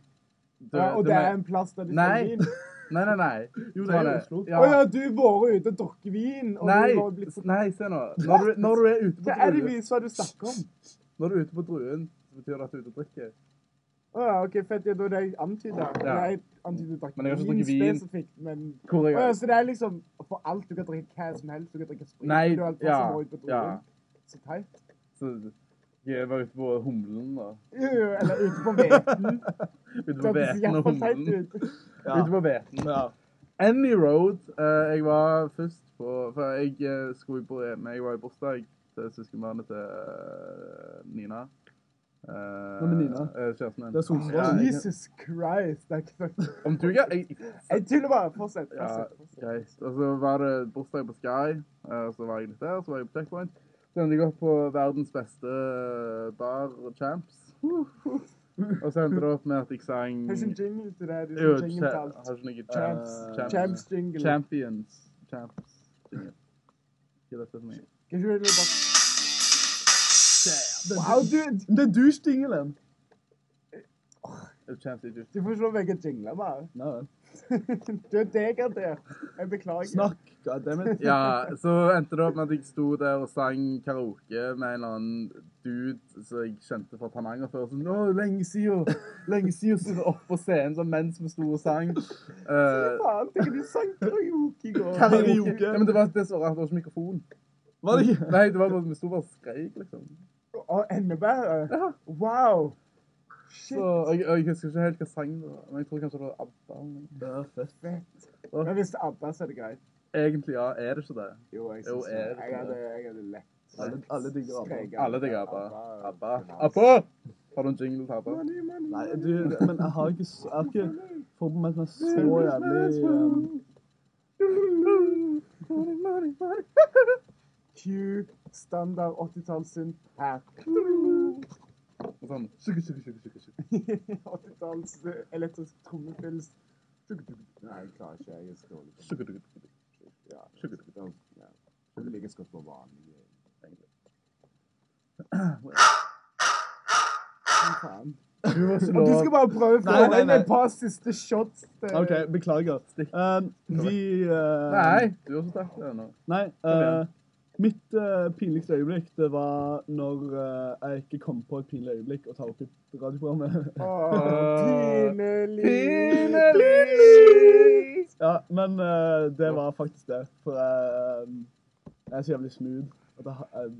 Speaker 2: du-
Speaker 3: Ja, og
Speaker 2: du
Speaker 3: det er
Speaker 2: men-
Speaker 3: en plass der de
Speaker 2: Nei.
Speaker 3: selger vin?
Speaker 2: Nei, nei, nei.
Speaker 1: Jo, det
Speaker 2: Så var
Speaker 1: er i
Speaker 2: det-
Speaker 1: Oslo.
Speaker 2: Ja.
Speaker 3: Å ja, du har vært ute og drukket vin, og
Speaker 2: Nei,
Speaker 3: du har blitt
Speaker 2: s- nei, se nå. Når du, når du er ute på
Speaker 3: Hva er det
Speaker 2: druen,
Speaker 3: viser du snakker om?
Speaker 2: når du er ute på druen så betyr det at du er ute og drikker.
Speaker 3: Å ja, OK, fett. Ja, da er det jeg antyda.
Speaker 2: Ja.
Speaker 3: Jeg antyda drakk
Speaker 2: Men jeg har ikke drukket vin.
Speaker 3: spesifikt, men
Speaker 2: Hvor
Speaker 3: Å ja,
Speaker 2: jeg
Speaker 3: så det er liksom for alt du kan drikke hva som helst? Du kan drikke sprit?
Speaker 2: Nei,
Speaker 3: du er alt
Speaker 2: ja,
Speaker 3: som går ut på
Speaker 2: ja.
Speaker 3: druen. Så teit.
Speaker 2: Så jeg var ute på humlen, da.
Speaker 3: Jo, jo, Øh, Eller ute på hveten.
Speaker 2: *laughs* Ute
Speaker 3: Det
Speaker 2: på
Speaker 3: høres
Speaker 2: Veten og
Speaker 3: iallfall teit
Speaker 2: humlen.
Speaker 3: ut.
Speaker 1: Ja.
Speaker 2: Ute på Veten.
Speaker 1: Ja.
Speaker 2: Emmy Road. eh, jeg var først på For jeg eh, skulle på men Jeg var i bursdag til søskenbarnet til eh, Nina. Uh,
Speaker 1: Hvem er Nina?
Speaker 2: Kjæresten min.
Speaker 1: Det er Solsvang.
Speaker 2: Ja, jeg-
Speaker 3: Jesus Christ. Det er ikke sant.
Speaker 2: Om du ikke jeg-
Speaker 3: Jeg tuller bare. Fortsett.
Speaker 2: Ja,
Speaker 3: fortsett, fortsett.
Speaker 2: Greit. Og så var det bursdag på Sky, eh, så var jeg litt der, så var jeg på Checkpoint. Så endte jeg opp på verdens beste eh, bar, Champs.
Speaker 1: Uhuh.
Speaker 2: Og så endte det opp med at jeg sang
Speaker 3: Har ikke en jingle til det? Du
Speaker 2: Jo,
Speaker 3: har jingle til
Speaker 2: cha-
Speaker 3: alt.
Speaker 2: har ikke noe
Speaker 3: Champs.
Speaker 2: Champs.
Speaker 3: Champs jingle.
Speaker 2: Champions. Champs. Jingle. Ikke dette for meg.
Speaker 3: Kan ikke du bare
Speaker 1: Det er
Speaker 3: Wow,
Speaker 1: du-
Speaker 3: du,
Speaker 1: Det er du, Stingelen.
Speaker 2: Eh, Champs i just.
Speaker 3: du får ikke lov å velge jingler bare.
Speaker 1: Nei vel.
Speaker 3: *laughs* Du er degradert. Jeg beklager.
Speaker 1: Snakk,
Speaker 3: *laughs*
Speaker 1: goddammit.
Speaker 2: Ja, så endte det opp med at jeg sto der og sang karaoke med en eller annen dude som jeg kjente fra Tananger før. Sånn, Å, lenge siden! Lenge siden! Så opp på scenen sånn mens vi sto og sang.
Speaker 3: Hva
Speaker 2: Eh,
Speaker 3: faen? Tenk at du sang karaoke i går.
Speaker 2: Karaoke. Ja, men det var det som var rart, det var ikke mikrofon.
Speaker 1: Var det ikke?
Speaker 2: Nei, det var bare vi sto bare og skreik, liksom.
Speaker 3: Og endebæret. Wow. Shit.
Speaker 2: Så, og jeg, og jeg husker ikke helt hva sang det var, men jeg tror kanskje det var ABBA. eller noe.
Speaker 1: Ja, fett.
Speaker 3: Fett. Men hvis det er ABBA, så er det greit.
Speaker 2: Egentlig, ja. Er det ikke det?
Speaker 3: Jo, jeg
Speaker 2: Jo,
Speaker 3: synes det.
Speaker 2: er det
Speaker 3: Jeg hadde, jeg hadde lett.
Speaker 1: Alle, alle digger ABBA.
Speaker 3: skreket.
Speaker 2: Alle digger ABBA. ABBA.
Speaker 3: ABBA.
Speaker 2: ABBA! Har du en jingle til ABBA?
Speaker 3: Money, money,
Speaker 1: Nei,
Speaker 3: money.
Speaker 1: du, men jeg har ikke, s- jeg har ikke forberedt meg så jævlig um,
Speaker 3: Q, standard 80-tallssyn her.
Speaker 2: Og sånn, sukke, sukke, sukke, sukke, sukke.
Speaker 3: 80-talls elektrisk trommepuls. Nei, jeg klarer ikke. Jeg er så dårlig. på-
Speaker 2: Sukke, sukke, sukke.
Speaker 3: Ja,
Speaker 2: Sukker.
Speaker 3: da- ja. Det ligger skott på vanlig egentlig. Fy faen.
Speaker 2: Du var så
Speaker 3: Og du skal bare prøve å få
Speaker 1: Nei, nei,
Speaker 3: inn
Speaker 1: nei.
Speaker 3: et par siste shots. til-
Speaker 1: OK, beklager. Um, vi uh,
Speaker 2: Nei, du har så sterk det nå.
Speaker 1: Nei. Uh, mitt uh, pinligste øyeblikk det var når uh, jeg ikke kom på et pinlig øyeblikk å ta opp i radioprogrammet. *laughs*
Speaker 3: Ah, Åh, Pinlig.
Speaker 2: Pinlig!
Speaker 1: ja, men uh, det var faktisk det. For jeg, um, jeg er så jævlig smooth. At jeg, ha- jeg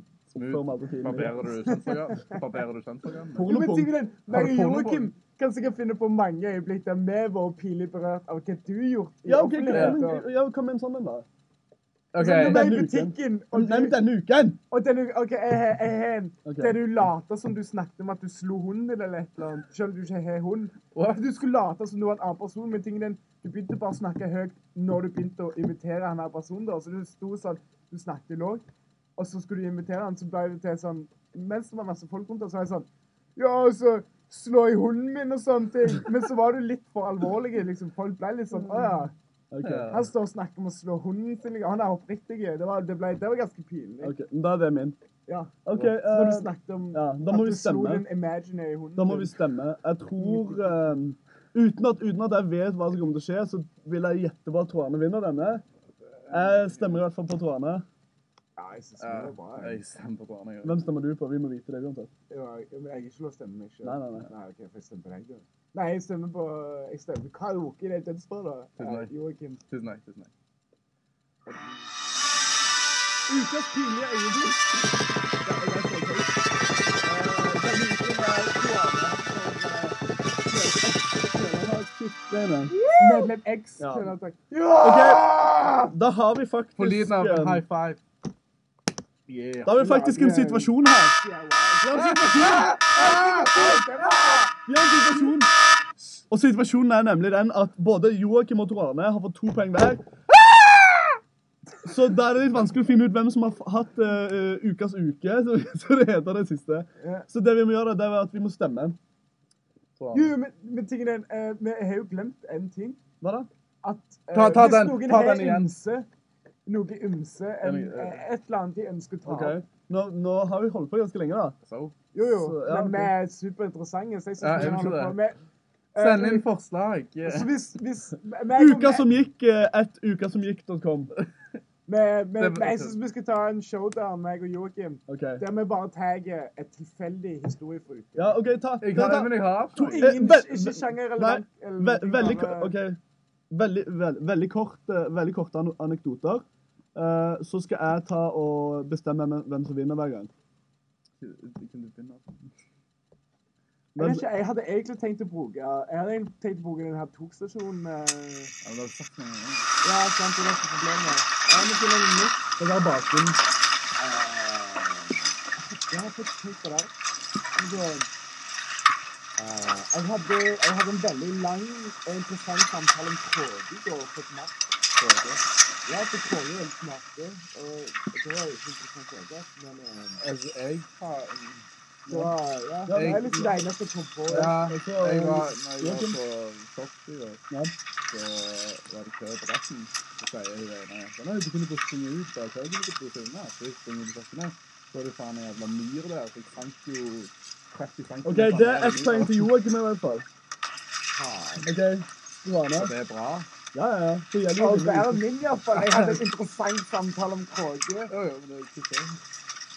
Speaker 1: oppfører meg aldri pinlig.
Speaker 2: Barberer du kjønnsorgan? Barberer du kjønnsorgan?
Speaker 3: Jo, men
Speaker 1: Pornopunk.
Speaker 3: tingen,
Speaker 2: Har du
Speaker 3: Meg og
Speaker 2: porno på?
Speaker 3: Joakim kan sikkert finne på mange øyeblikk der vi var pinlig berørt av hva du gjorde. i
Speaker 1: Ja, OK, hva-
Speaker 3: offentligheten.
Speaker 1: ja, hva med en sånn en, da?
Speaker 2: OK.
Speaker 3: Sånn, du var i
Speaker 1: Denne uken.
Speaker 3: butikken, og
Speaker 1: Nei, men
Speaker 3: du,
Speaker 1: denne uken!
Speaker 3: og den, ok, jeg, har- jeg, har en.
Speaker 1: Ok.
Speaker 3: Der du later som du snakket om at du slo hunden din eller et eller annet. Selv om du ikke har hund.
Speaker 2: What?
Speaker 3: At du skulle late som du var en annen person, men tingen din, du begynte bare å snakke høyt når du begynte å imitere han her personen. da, Så du sto sånn, du snakket lågt, og så skulle du imitere han, så ble det til sånn Mens det var masse folk rundt deg, så var jeg sånn Ja, og så slå i hunden min og sånne ting. Men så var du litt for alvorlig. liksom, Folk ble litt sånn Å ja.
Speaker 1: Ok,
Speaker 2: Ja.
Speaker 3: Han står og snakker om å slå hunden sin. liksom, Han er oppriktig. Det var, det ble, det var ganske pinlig.
Speaker 1: ok, Da er det min.
Speaker 3: Ja.
Speaker 1: OK,
Speaker 3: Når du
Speaker 1: uh,
Speaker 3: snakket om
Speaker 1: ja, da må
Speaker 3: at
Speaker 1: vi
Speaker 3: du slo
Speaker 1: stemme.
Speaker 3: den imaginary hunden
Speaker 1: Da må
Speaker 3: din.
Speaker 1: vi stemme. Jeg tror eh, uten, at, uten at jeg vet hva som kommer til å skje, så vil jeg gjette på at Toane vinner denne. Jeg stemmer i hvert fall på Toane.
Speaker 3: Ja, jeg synes det
Speaker 2: Ja,
Speaker 3: var bra. jeg.
Speaker 2: jeg stemmer på barna, jeg.
Speaker 1: Hvem stemmer du på? Vi må vite det uansett.
Speaker 3: Ja, jeg- men jeg har ikke lov å stemme meg selv.
Speaker 1: Nei, nei, nei.
Speaker 3: ok, for jeg stemmer på deg, da. Nei, jeg stemmer på Jeg stemmer på karaoke. Det er dødsbra, da.
Speaker 2: Tusen takk.
Speaker 3: Eh, Joakim.
Speaker 2: Tusen takk. tusen takk.
Speaker 1: Ukas pinlige øyeblikk. Det er jeg som tar det. Eh, denne uken er Toane som, eh, kjører- kjører- kjører- har klippet Det er meg.
Speaker 3: Medlem X.
Speaker 1: Ja.
Speaker 3: kunne jeg sagt.
Speaker 1: Ok, Da har vi faktisk
Speaker 2: På lyden av en
Speaker 1: eh,
Speaker 2: high five. Yeah.
Speaker 1: Da har vi faktisk en situasjon her.
Speaker 3: Ja, wow.
Speaker 1: Vi har en
Speaker 2: Ah!
Speaker 1: situasjon! Vi har en situasjon. Og situasjonen er nemlig den at både Joakim og Tor Arne har fått to poeng hver. Så da er det litt vanskelig å finne ut hvem som har f- hatt eh, ukas uke. *laughs* Så, så det heter det siste.
Speaker 3: Ja.
Speaker 1: Så det vi må gjøre, det er at vi må stemme.
Speaker 2: Sånn.
Speaker 3: Jo, men, men tingen er, eh, vi har jo glemt en ting.
Speaker 1: Hva da?
Speaker 3: At eh,
Speaker 2: Ta- ta
Speaker 3: hvis
Speaker 2: den,
Speaker 3: noen
Speaker 2: ta
Speaker 3: har
Speaker 2: den igjen.
Speaker 3: ymse, noe ymse, en,
Speaker 2: Den, eh,
Speaker 3: et eller annet de ønsker å ta
Speaker 1: Ok.
Speaker 3: opp
Speaker 1: Nå, nå har vi holdt på ganske lenge, da.
Speaker 2: Så.
Speaker 3: Jo, jo.
Speaker 1: Så, ja,
Speaker 3: men
Speaker 1: ok.
Speaker 3: vi er superinteressante, så jeg
Speaker 2: Ja,
Speaker 3: synes vi Eh,
Speaker 2: jeg
Speaker 3: kan
Speaker 2: vil ikke
Speaker 3: holde på med
Speaker 2: Send inn forslag.
Speaker 3: Så
Speaker 2: Yeah.
Speaker 3: Altså, hvis, hvis men- men-
Speaker 1: Uka som gikk eh, at ukasomgikk.com.
Speaker 3: men- men-
Speaker 2: Det-
Speaker 3: men Jeg synes vi skal ta en show der, meg og Joakim,
Speaker 1: Ok.
Speaker 3: der vi bare tagger et tilfeldig historie for uke.
Speaker 1: Ja, OK, ta.
Speaker 2: Jeg
Speaker 1: ta,
Speaker 2: har
Speaker 1: ta.
Speaker 2: en, men jeg har
Speaker 1: To-
Speaker 2: avslag.
Speaker 1: eh,
Speaker 3: Ingen,
Speaker 1: vel-
Speaker 3: ikke
Speaker 1: Nei,
Speaker 3: sjangerrelevant. eller
Speaker 1: Ve
Speaker 3: noe,
Speaker 1: veldig,
Speaker 3: bare-
Speaker 1: ko-
Speaker 2: eh,
Speaker 1: ok. veldig, veld, veldig, kort, eh, veldig korte an anekdoter. Eh, så skal jeg ta og bestemme hvem- hvem som vinner hver gang.
Speaker 2: Kan du begynne?
Speaker 3: Jeg,
Speaker 1: Men,
Speaker 3: vet ikke, jeg hadde egentlig tenkt å bruke Jeg hadde egentlig tenkt å bruke den her togstasjonen eh,
Speaker 2: Ja, men da har du sagt noe.
Speaker 3: Ja, sant, det er ikke problemet. Jeg må ikke lage nytt.
Speaker 1: dere har bakgrunn.
Speaker 3: Ah. Jeg har fått tenkt på det. Men så, eh, Jeg hadde, jeg hadde en veldig lang og interessant samtale om KD i går på et mark. Ja, på KD er litt smarte, og det var jo ikke interessant i det hele tatt, men eh,
Speaker 2: Altså, jeg har
Speaker 3: det var, ja,
Speaker 1: Ja,
Speaker 3: det
Speaker 2: jeg-
Speaker 3: er litt det eneste jeg kom på.
Speaker 2: Ja,
Speaker 1: Og så,
Speaker 2: jeg var,
Speaker 1: eh,
Speaker 2: når jeg var på Sochi, da,
Speaker 1: Ja.
Speaker 2: så var det kø på retten. Så sier hun det ene jenta, Nei, du kunne bare springe ut da. Så jeg kunne ikke bruke unna. Så jeg springer ut i sokkene. Så er det faen en jævla myr der. Så jeg sank jo 30 cm.
Speaker 1: OK, det er ett poeng til Joakim i hvert fall. OK,
Speaker 2: Så
Speaker 1: Johanne.
Speaker 2: det er bra.
Speaker 1: Ja, ja, ja. Det gjelder
Speaker 3: Og
Speaker 1: jo
Speaker 3: det er
Speaker 1: å vinne.
Speaker 3: min i hvert fall. Jeg hadde en interessant samtale om KG.
Speaker 2: Jo, jo, men det er ikke sånn.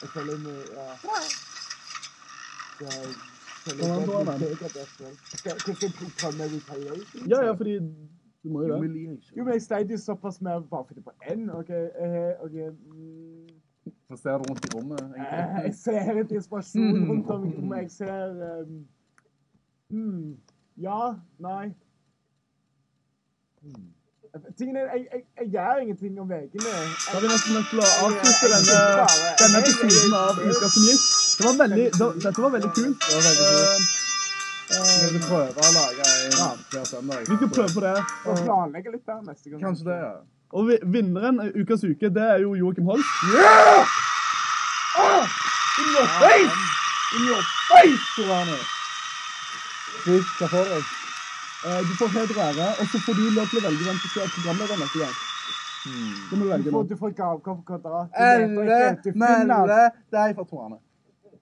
Speaker 3: Jeg føler meg ja. Så jeg føler
Speaker 1: Kom an,
Speaker 3: meg
Speaker 1: Tora,
Speaker 3: godt
Speaker 1: mann.
Speaker 3: med deg, Espen. Skal skal jeg pr- prøve med retaliation?
Speaker 1: Ja, ja, fordi du må jo det.
Speaker 3: Jo,
Speaker 2: Humiliation.
Speaker 3: men jeg steg jo såpass mer bare fordi det var én. OK, eh, ok, mm.
Speaker 2: Så ser du rundt i rommet.
Speaker 3: Eh,
Speaker 2: egentlig.
Speaker 3: Jeg ser litt inspirasjon
Speaker 2: Mm.
Speaker 1: Hmm.
Speaker 3: rundt om i rommet. Jeg ser um, hmm. Ja. Nei. Hmm. Tingen er, jeg, jeg, jeg gjør ingenting om veiene.
Speaker 1: Da er vi nesten nødt til å avslutte denne, denne episoden av Uka som gikk. Det var veldig, *laughs* det, dette var veldig kult.
Speaker 2: Det var veldig kult. Vi
Speaker 1: Eh,
Speaker 2: Eh, skal
Speaker 1: eh,
Speaker 2: prøve å lage en
Speaker 1: Ja.
Speaker 2: hver søndag.
Speaker 1: vi skal prøve på det.
Speaker 3: Og planlegge litt der neste gang.
Speaker 2: Kanskje det, ja.
Speaker 1: Og vi, vinneren av ukas uke, det er jo Joakim Holst. Eh,
Speaker 2: In your face, Solano! Du, hva får jeg?
Speaker 1: Eh, Du får heder og ære, og så får du lov til å velge hvem som skal være programleder neste gang. Det må du
Speaker 3: Du
Speaker 1: velge nå.
Speaker 3: får, du får gavekort på kvadrat. Du vet
Speaker 2: Elle
Speaker 3: ikke, du finner alt.
Speaker 2: melde deg fra Torane.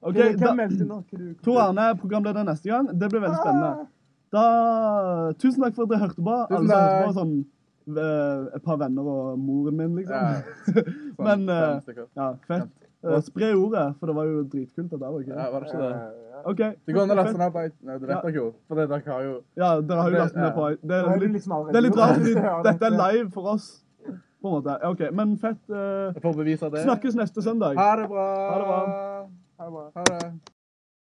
Speaker 1: Ok,
Speaker 3: Hvem
Speaker 1: da,
Speaker 3: meldte nå? Hva du-
Speaker 1: Tor Arne er programleder neste gang. Det blir veldig
Speaker 3: Ah!
Speaker 1: spennende. Da, tusen takk for at dere hørte på. Alle
Speaker 2: Tusen
Speaker 1: som hørte på
Speaker 2: takk.
Speaker 1: sånn eh, et par venner og moren min, liksom.
Speaker 2: Sånn,
Speaker 1: *laughs* Men,
Speaker 2: fem
Speaker 1: eh,
Speaker 2: stykker.
Speaker 1: Ja, fett. Eh, Spre ordet, for det var jo dritkult dette her,
Speaker 2: Ja,
Speaker 1: ikke
Speaker 2: var det
Speaker 3: Ah,
Speaker 2: ikke det?
Speaker 1: OK.
Speaker 2: Det går an å laste
Speaker 1: fett.
Speaker 2: den opp på Nei, det vet dere jo. For det dere har jo
Speaker 1: Ja, dere har jo
Speaker 2: Det-
Speaker 1: lastet ned på Det
Speaker 3: Nå
Speaker 1: er
Speaker 3: er du
Speaker 1: litt,
Speaker 3: liksom allerede
Speaker 1: det er litt rart,
Speaker 3: gjort
Speaker 1: fordi
Speaker 3: det.
Speaker 1: dette er live for oss, på en måte. Ja, OK, men fett. eh,
Speaker 2: For å bevise det.
Speaker 1: snakkes neste søndag.
Speaker 2: Ha det bra!
Speaker 1: Ha det bra.
Speaker 3: Ha det bra.
Speaker 2: Ha det.